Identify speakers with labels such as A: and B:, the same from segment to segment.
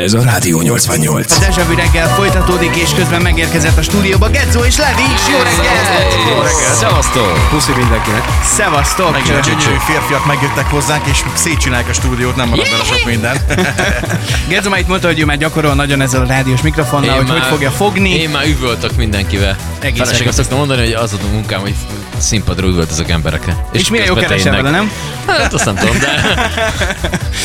A: Ez a Rádió 88.
B: A
C: Hát
B: Dezsavű reggel folytatódik, és közben megérkezett a stúdióba Gedzó és Levi. Jó reggel!
A: Szevasztok!
D: Puszi mindenkinek.
B: Szevasztok!
C: A gyönyörű férfiak megjöttek hozzánk, és szétcsinálják a stúdiót, nem marad bele sok minden.
B: Gedzó már itt mondta, hogy ő már gyakorol nagyon ezzel a rádiós mikrofonnal, hogy hogy fogja fogni.
E: Én már üvöltök mindenkivel.
B: Egész
E: Feleség
B: egész.
E: azt szoktam mondani, hogy az a munkám, hogy színpadra üvöltözök emberekre.
B: És milyen jó
E: közben te
B: keresel
E: énnek.
B: vele, nem?
E: Hát azt nem tudom, de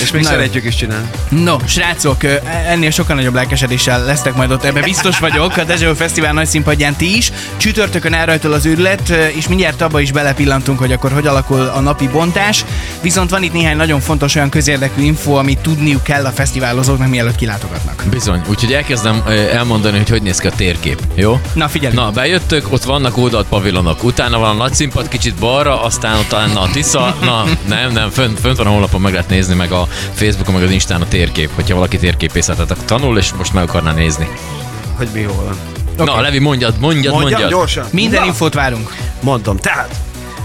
D: És még
B: Na jó.
D: szeretjük is csinálni.
B: No, srácok, ö, ennél sokkal nagyobb lelkesedéssel lesztek majd ott, ebben biztos vagyok, a Dezső Fesztivál nagy színpadján ti is. Csütörtökön elrajtol az őrület, ö, és mindjárt abba is belepillantunk, hogy akkor hogy alakul a napi bontás. Viszont van itt néhány nagyon fontos olyan közérdekű info, amit tudniuk kell a fesztiválozóknak, mielőtt kilátogatnak.
E: bizony. Úgyhogy elkezdem ö, elmondani, hogy hogy néz ki a térkép. Jó?
B: Na figyelj!
E: Na, bejöttök, ott vannak oldalt pavilonok, utána van a nagy színpad, kicsit balra, aztán ott a- na, a Tisza, na, nem, nem, fönt, fönt van a honlapon, meg lehet nézni, meg a Facebookon, meg az Instán a térkép, hogyha valaki térképészetet ak- tanul, és most meg akarná nézni.
D: Hogy mi hol van.
E: Okay. Na, Levi, mondjad, mondjad, mondjad.
D: Mondjam gyorsan.
B: Minden infót várunk.
D: Mondom, tehát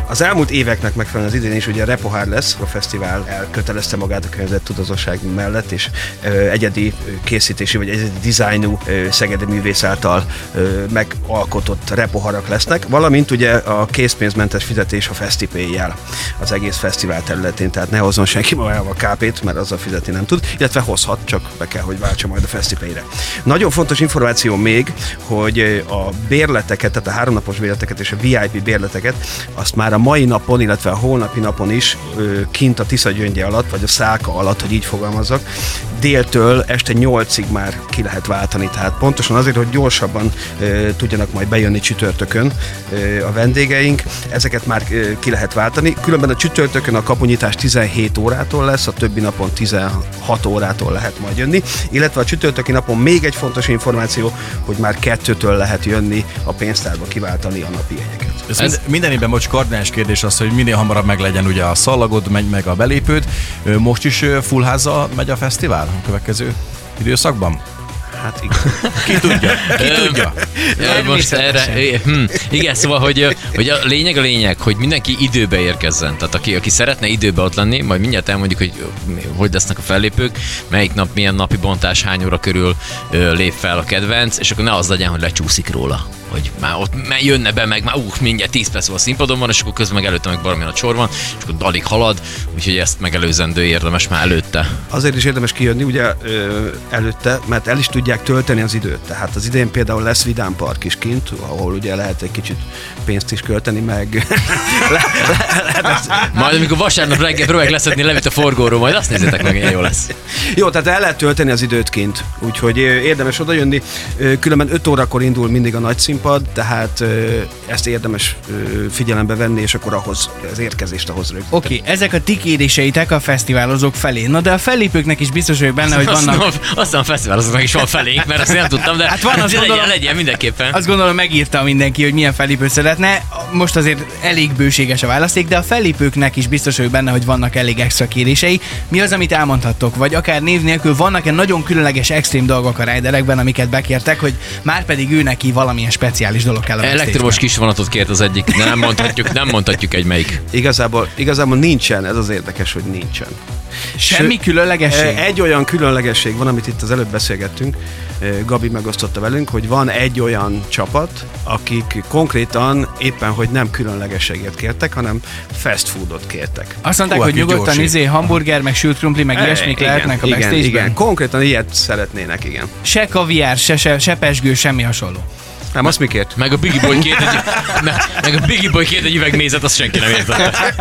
D: az elmúlt éveknek megfelelően az idén is ugye Repohár lesz, a fesztivál elkötelezte magát a környezettudatosság mellett, és ö, egyedi ö, készítési vagy egyedi dizájnú ö, szegedi művész által ö, megalkotott repoharak lesznek, valamint ugye a készpénzmentes fizetés a fesztipéjjel az egész fesztivál területén, tehát ne hozzon senki magával kápét, mert azzal fizetni nem tud, illetve hozhat, csak be kell, hogy váltsa majd a fesztipéjre. Nagyon fontos információ még, hogy ö, a bérleteket, tehát a háromnapos bérleteket és a VIP bérleteket, azt már a mai napon, illetve a holnapi napon is ö, kint a Tisza gyöngye alatt, vagy a száka alatt, hogy így fogalmazzak, déltől este 8-ig már ki lehet váltani. Tehát pontosan azért, hogy gyorsabban ö, tudjanak majd bejönni csütörtökön ö, a vendégeink, ezeket már ö, ki lehet váltani. Különben a csütörtökön a kapunyítás 17 órától lesz, a többi napon 16 órától lehet majd jönni, illetve a csütörtöki napon még egy fontos információ, hogy már kettőtől lehet jönni a pénztárba kiváltani a napi jegyeket.
C: Ez, ez minden évben, bocs, kardinális kérdés az, hogy minél hamarabb meglegyen ugye a szalagod, megy meg a belépőd. Ö, Most is ö, full házzal megy a fesztivál a következő időszakban?
D: Hát igen.
C: Ki tudja? Ki tudja?
E: Jaj, most erre, é, hm, igen, szóval, hogy, ö, hogy a lényeg a lényeg, hogy mindenki időbe érkezzen. Tehát aki, aki szeretne időbe ott lenni, majd mindjárt elmondjuk, hogy ö, mi- hogy lesznek a fellépők, melyik nap, milyen napi bontás, hány óra körül ö, lép fel a kedvenc, és akkor ne az legyen, hogy lecsúszik róla hogy már ott me- jönne be, meg már úh, mindjárt 10 perc van a színpadon van, és akkor közben meg előtte meg valamilyen a sor van, és akkor dalig halad, úgyhogy ezt megelőzendő érdemes már előtte.
D: Azért is érdemes kijönni ugye ö, előtte, mert el is tudják tölteni az időt. Tehát az idén például lesz Vidám Park is kint, ahol ugye lehet egy kicsit pénzt is költeni, meg
E: Majd amikor vasárnap reggel próbálják leszedni Levit a forgóról, majd azt nézzétek meg, milyen jó lesz.
D: Jó, tehát el lehet tölteni az időt kint, úgyhogy ö, érdemes oda jönni. Ö, Különben 5 órakor indul mindig a nagy színpad, tehát ö, ezt érdemes ö, figyelembe venni, és akkor ahhoz, az érkezést ahhoz rögzíteni.
B: Oké, okay, ezek a ti kérdéseitek a fesztiválozók felé. Na de a fellépőknek is biztos vagyok benne, hogy
E: Azt
B: vannak.
E: nem- Azt nem a fesztivál, azoknak is van felénk, mert azt nem tudtam, de
B: Hát van, azt
E: legyen,
B: gondolom.
E: legyen mindenképpen.
B: Azt gondolom megírta mindenki, hogy milyen fellépőt szeretne. Most azért elég bőséges a választék, de a fellépőknek is biztos vagyok benne, hogy vannak elég extra kérései. Mi az, amit elmondhattok? Vagy akár név nélkül vannak-e nagyon különleges extrém dolgok a riderekben, amiket bekértek, hogy már pedig ő neki valamilyen speciális dolog kell a
E: Elektromos
B: backstage-ben?
E: kis vonatot kért az egyik, de nem mondhatjuk, nem mondhatjuk egy melyik.
D: Igazából, igazából nincsen, ez az érdekes, hogy nincsen.
B: Semmi különlegesség?
D: E, Egy olyan különlegesség van, amit itt az előbb beszélgettünk, ö, Gabi megosztotta velünk, hogy van egy olyan csapat, akik konkrétan éppen, hogy nem különlegességet kértek, hanem fast foodot kértek.
B: Azt mondták,
C: Hú,
B: hogy
C: hát mi
B: nyugodtan
C: gyorsi.
B: izé, hamburger, meg sült krumpli, meg ilyesmik
D: E, Igen,
B: lehetnek a
D: igen,
B: backstage-ben.
D: igen, konkrétan ilyet szeretnének, igen.
B: Se kaviár, se, se, se pesgő, semmi hasonló.
D: Nem, azt mi kért?
E: Meg a Biggie Boy két egy, meg, meg a Biggie Boy két egy üveg mézet, azt senki nem értette.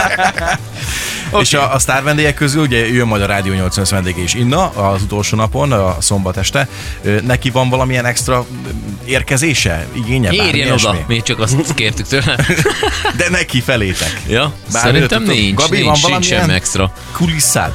C: Okay. És a, a sztár vendégek közül ugye jön majd a Rádió 85 vendége is inna az utolsó napon, a szombat este. Ö, Neki van valamilyen extra ö, érkezése, igénye? bármi
E: Érjen
C: ilyesmi?
E: oda, mi csak azt kértük tőle.
C: De neki felétek.
E: Ja,
C: Bármi
E: szerintem
C: tudtok?
E: nincs,
C: Gabi,
E: nincs,
C: van
E: nincs
C: valamilyen?
E: semmi extra.
C: Kulisszád?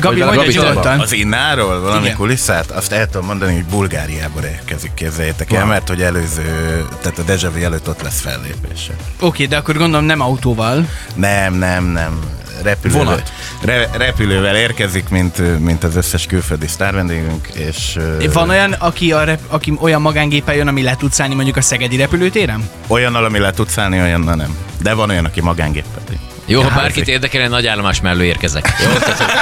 B: Gabi,
E: Hogy a
B: mondja
E: Gabi
B: nyugodtan.
F: Az innáról valami
B: Igen.
F: Igen. kulisszát, azt el tudom mondani, hogy Bulgáriából érkezik, képzeljétek el,
C: Wow.
F: mert hogy előző, tehát a Deja Vu előtt ott lesz fellépése.
B: Oké, de akkor gondolom nem autóval.
F: Nem, nem, nem. Repülővel,
C: Vonat.
F: re, repülővel érkezik, mint, mint az összes külföldi sztárvendégünk, és ö,
B: Van olyan, aki, a rep- aki olyan magángéppel jön, ami le tud szállni mondjuk a Szegedi repülőtéren?
F: olyannal, ami le tudsz állni, olyannal nem. De van olyan, aki magángéppel.
E: Jó, ha bárkit érdekel, én nagy állomás mellől érkezek. Jó, tehát, hogy-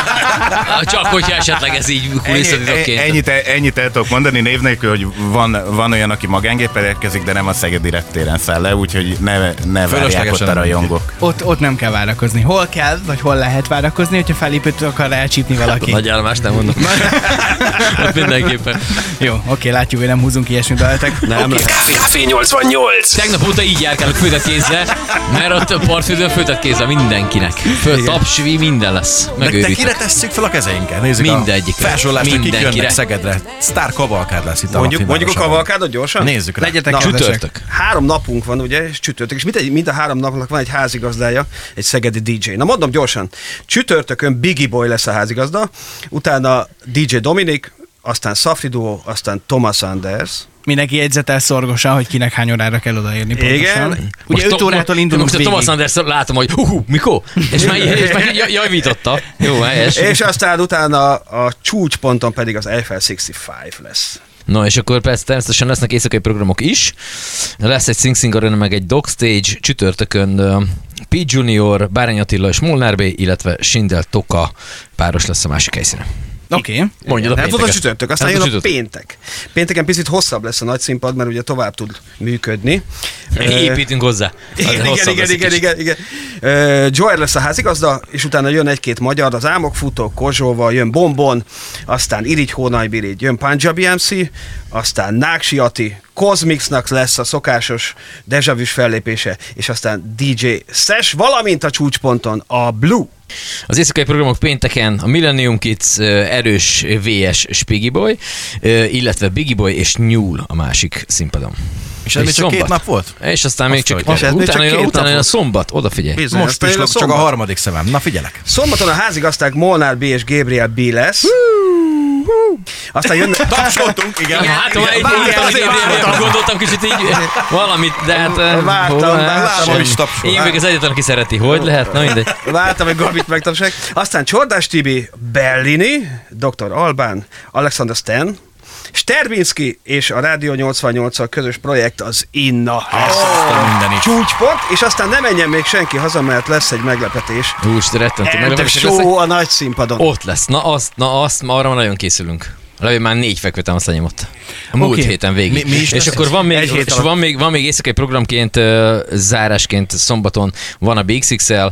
E: Ah, csak hogyha esetleg ez így kulisszatitokként.
F: e- ennyit, ennyit el tudok mondani név nélkül, hogy van, van olyan, aki magángéppel érkezik, de nem a Szegedi reptéren száll le, úgyhogy ne, ne várják ott
C: Fölöslegesen
F: a
C: nem.
F: rajongók.
B: Ott, ott nem kell várakozni. Hol kell, vagy hol lehet várakozni, hogyha felépőt akar elcsípni valaki.
E: Nagy állomást nem mondom. Ott mindenképpen.
B: Jó, oké, látjuk, hogy nem húzunk ilyesmit beletek.
D: Nem okay.
C: hát
D: lehet.
A: Café 88.
E: Tegnap óta így járkálok főtett kézzel, mert ott a partfődön főtett kézzel mindenkinek. Föl tapsvi, minden lesz.
C: Meg te
E: Megőrít.
C: kire tesszük fel a kezeinkkel? Nézzük
E: Mindegyikre.
C: A felsorolás, hogy kik
E: Mindenkire.
C: jönnek Szegedre. Sztár kavalkád lesz itt
D: Mondjuk,
C: a
D: mondjuk a kavalkádot gyorsan?
C: Nézzük rá.
B: Legyetek
D: Na,
B: kedvesek.
E: Csütörtök.
D: Három napunk van, ugye, és csütörtök, és mind, egy, mind a három napnak van egy házigazdája, egy szegedi DJ. Na mondom gyorsan, csütörtökön Biggie Boy lesz a házigazda, utána DJ Dominik, aztán Safri Duo, aztán Thomas Anders.
B: Mindenki jegyzetel szorgosan, hogy kinek hány órára kell odaérni
D: Igen.
B: pontosan. Ugye
E: Most
B: 5
E: to-
B: órától
E: mo-
B: indulunk
E: Most a
B: végig.
E: Thomas Anders látom, hogy hú, mikor? És már, és már ja- javította. Jó, helyes.
D: És aztán utána a csúcsponton pedig az Eiffel 65 lesz.
E: Na, és akkor persze természetesen lesznek éjszakai programok is. Lesz egy Sing Sing Arena, meg egy Dog Stage csütörtökön ö, P. Junior, Bárány Attila és Molnár B, illetve Sindel Toka páros lesz a másik helyszínen.
B: Oké.
E: Mondjad a
D: Nem volt Hát a
E: pénteket.
D: csütörtök, aztán
E: Nem
D: jön
E: volt
D: a
E: csütörtök.
D: péntek. Pénteken picit hosszabb lesz a nagy színpad, mert ugye tovább tud működni. Ö,
E: Építünk hozzá.
D: Igen,
E: Hosszabb
D: igen,
E: lesz
D: igen,
E: egy
D: igen,
E: kicsit.
D: igen, igen. Ö, Joel lesz a házigazda, és utána jön egy-két magyar, az Álmok futó, Kozsóval, jön Bombon, aztán Irigy Hónajbirigy, jön Punjabi MC, aztán Náksi Ati, Cosmixnak lesz a szokásos dejavűs fellépése, és aztán DJ Sesh, valamint a csúcsponton a Blue.
E: Az éjszakai programok pénteken a Millennium Kids, ö, erős VS Spiggy Boy, ö, illetve Biggie Boy és Nyúl a másik színpadon.
C: És ez még csak két nap volt?
E: És aztán még csak,
C: Azt
D: mondja.
E: utána,
D: És ez még
E: utána,
D: csak
E: jön,
D: két
E: utána jön
D: nap
E: a
D: volt.
E: szombat, odafigyelj.
D: Bizony,
C: Most
D: aztán
C: is
D: jön
C: lok, csak a
D: szombat.
C: harmadik szemem. Na figyelek.
D: Szombaton a házigazdák Molnár B és Gabriel B lesz. Aztán jönnek...
C: Tapsoltunk, igen.
E: Igen, hát, igen,
D: vártam,
E: vártam,
D: azért
E: igen,
D: vártam.
E: gondoltam kicsit így valamit, de hát... eh,
D: Vártam,
E: hol, hát,
D: vártam,
E: semmi.
C: hogy is tapsol.
E: Én még az egyetlen, aki szereti, hogy lehet, na mindegy.
D: Vártam, hogy Gabit megtapsolják. Aztán Csordás Tibi, Bellini, Dr. Albán, Alexander Stan, Sterbinski és a Rádió 88 a közös projekt az Inna. Lesz
C: Aztán minden is.
D: Csúcspont, és aztán nem menjen még senki haza, mert lesz egy meglepetés.
E: Hús, rettentő,
D: Eltek
E: meglepetések lesznek.
D: show a nagy színpadon.
E: Ott lesz, na azt, na azt, ma arra már nagyon készülünk. Legalább már négy fekvőtám azt lenyomott. A múlt
B: Oké.
E: héten végig.
C: Mi- mi is
E: és
C: lesz
E: akkor van még,
D: Egy hét
E: és
D: alatt.
E: van még, van még éjszakai programként, ö, zárásként szombaton van a BXXL,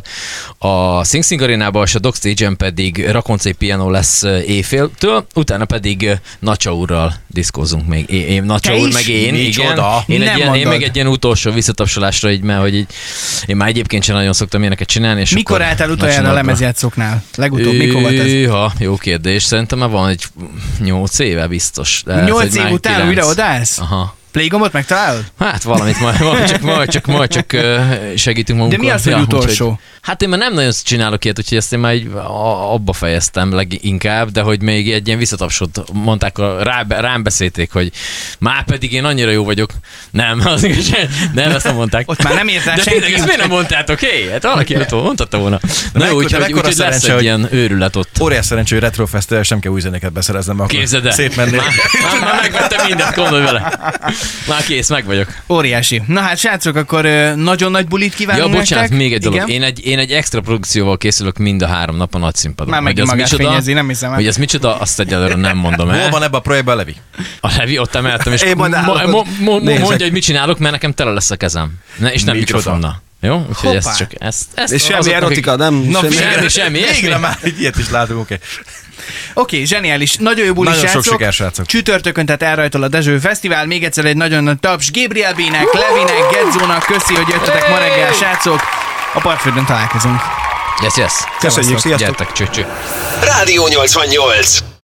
E: a Sing Sing Arénában és a Dog Stage-en pedig Rakoncé Piano lesz ö, éjféltől, utána pedig ö, Nacsa úrral diszkózunk még. É, én, Nacsa
B: Te
E: úr,
B: is?
E: meg én, igen.
C: Micsoda?
E: Én, egy
B: Nem
E: ilyen, én
B: mondod.
E: meg egy ilyen utolsó visszatapsolásra, így, mert hogy így, én már egyébként sem nagyon szoktam ilyeneket csinálni. És
B: Mikor
E: akkor
B: álltál
E: Nacsa
B: utoljára a
E: napra.
B: lemezjátszóknál? Legutóbb, mikor volt ez?
E: Hűha, jó kérdés. Szerintem már van egy 8 éve biztos. De lehet,
B: Nyolc
E: hogy
B: év
E: már
B: után
E: kilenc.
B: újra odállsz?
E: Aha.
B: Playgombot megtalálod?
E: Hát valamit majd, majd csak, majd csak, majd csak ö, segítünk
B: De
E: magunkon.
B: mi az, hogy utolsó?
E: hát én már nem nagyon csinálok ilyet, úgyhogy ezt én már így a- abba fejeztem leginkább, de hogy még egy ilyen visszatapsot mondták, a, rá, rám beszélték, hogy már pedig én annyira jó vagyok. Nem, az igazság, nem, ezt nem mondták.
B: Ott már nem ért rá
E: De tényleg,
B: senki.
E: ezt miért nem mondtátok? Hé, hát valaki ott mondhatta volna. Na jó,
C: mekkora-
E: úgyhogy
C: mekkora
E: úgyhogy lesz
C: szerencse,
E: egy
C: hogy-
E: ilyen őrület ott.
C: Óriás szerencsé, hogy Retrofest sem kell új zenéket beszereznem, mert
E: Képzeld
C: akkor
E: el.
C: szép mennél.
E: Már, már, már megvettem mindent, gondolj vele. Már kész, meg vagyok.
B: Óriási. Na hát, srácok, akkor ö, nagyon nagy bulit
E: Ja,
B: kívánunk
E: bocsánat,
B: nektek.
E: még egy dolog.
B: Igen?
E: Én egy, én egy extra produkcióval készülök mind a három nap a nagy színpadon.
B: Már
E: Hogy
B: megint
E: az
B: magát
E: micsoda-
B: fényezi, nem hiszem el.
E: Hogy az micsoda, azt egyelőre nem mondom el.
C: Hol van ebben a projektben, Levi?
E: A Levi ott emeltem, és
D: Én majd állok
E: mo- mo-
D: ott.
E: mo-
D: Nézek.
E: mondja, hogy mit csinálok, mert nekem tele lesz a kezem. Ne, és nem
C: Micsoda.
E: mikrofonnal. Jó? Úgyhogy
B: Hoppá.
E: ezt csak ezt, ezt
D: És semmi
E: azoknak, akik-
D: erotika, nem?
E: Na,
D: Semmi-
E: semmi, semmi, ilyesmi.
C: Végre már egy ilyet is látunk, oké.
B: Oké, zseniális. Nagyon jó buli
C: Nagyon sok
B: srácok.
C: sikert, srácok.
B: Csütörtökön, tehát elrajtol a Dezső Fesztivál. Még egyszer egy nagyon nagy taps Gabriel B-nek, Levinek, Gedzónak. Köszi, hogy jöttetek ma reggel, srácok. A partfődön találkozunk.
E: Yes, yes.
D: Köszönjük, sziasztok.
E: Gyertek, cső, cső.
A: Rádió 88.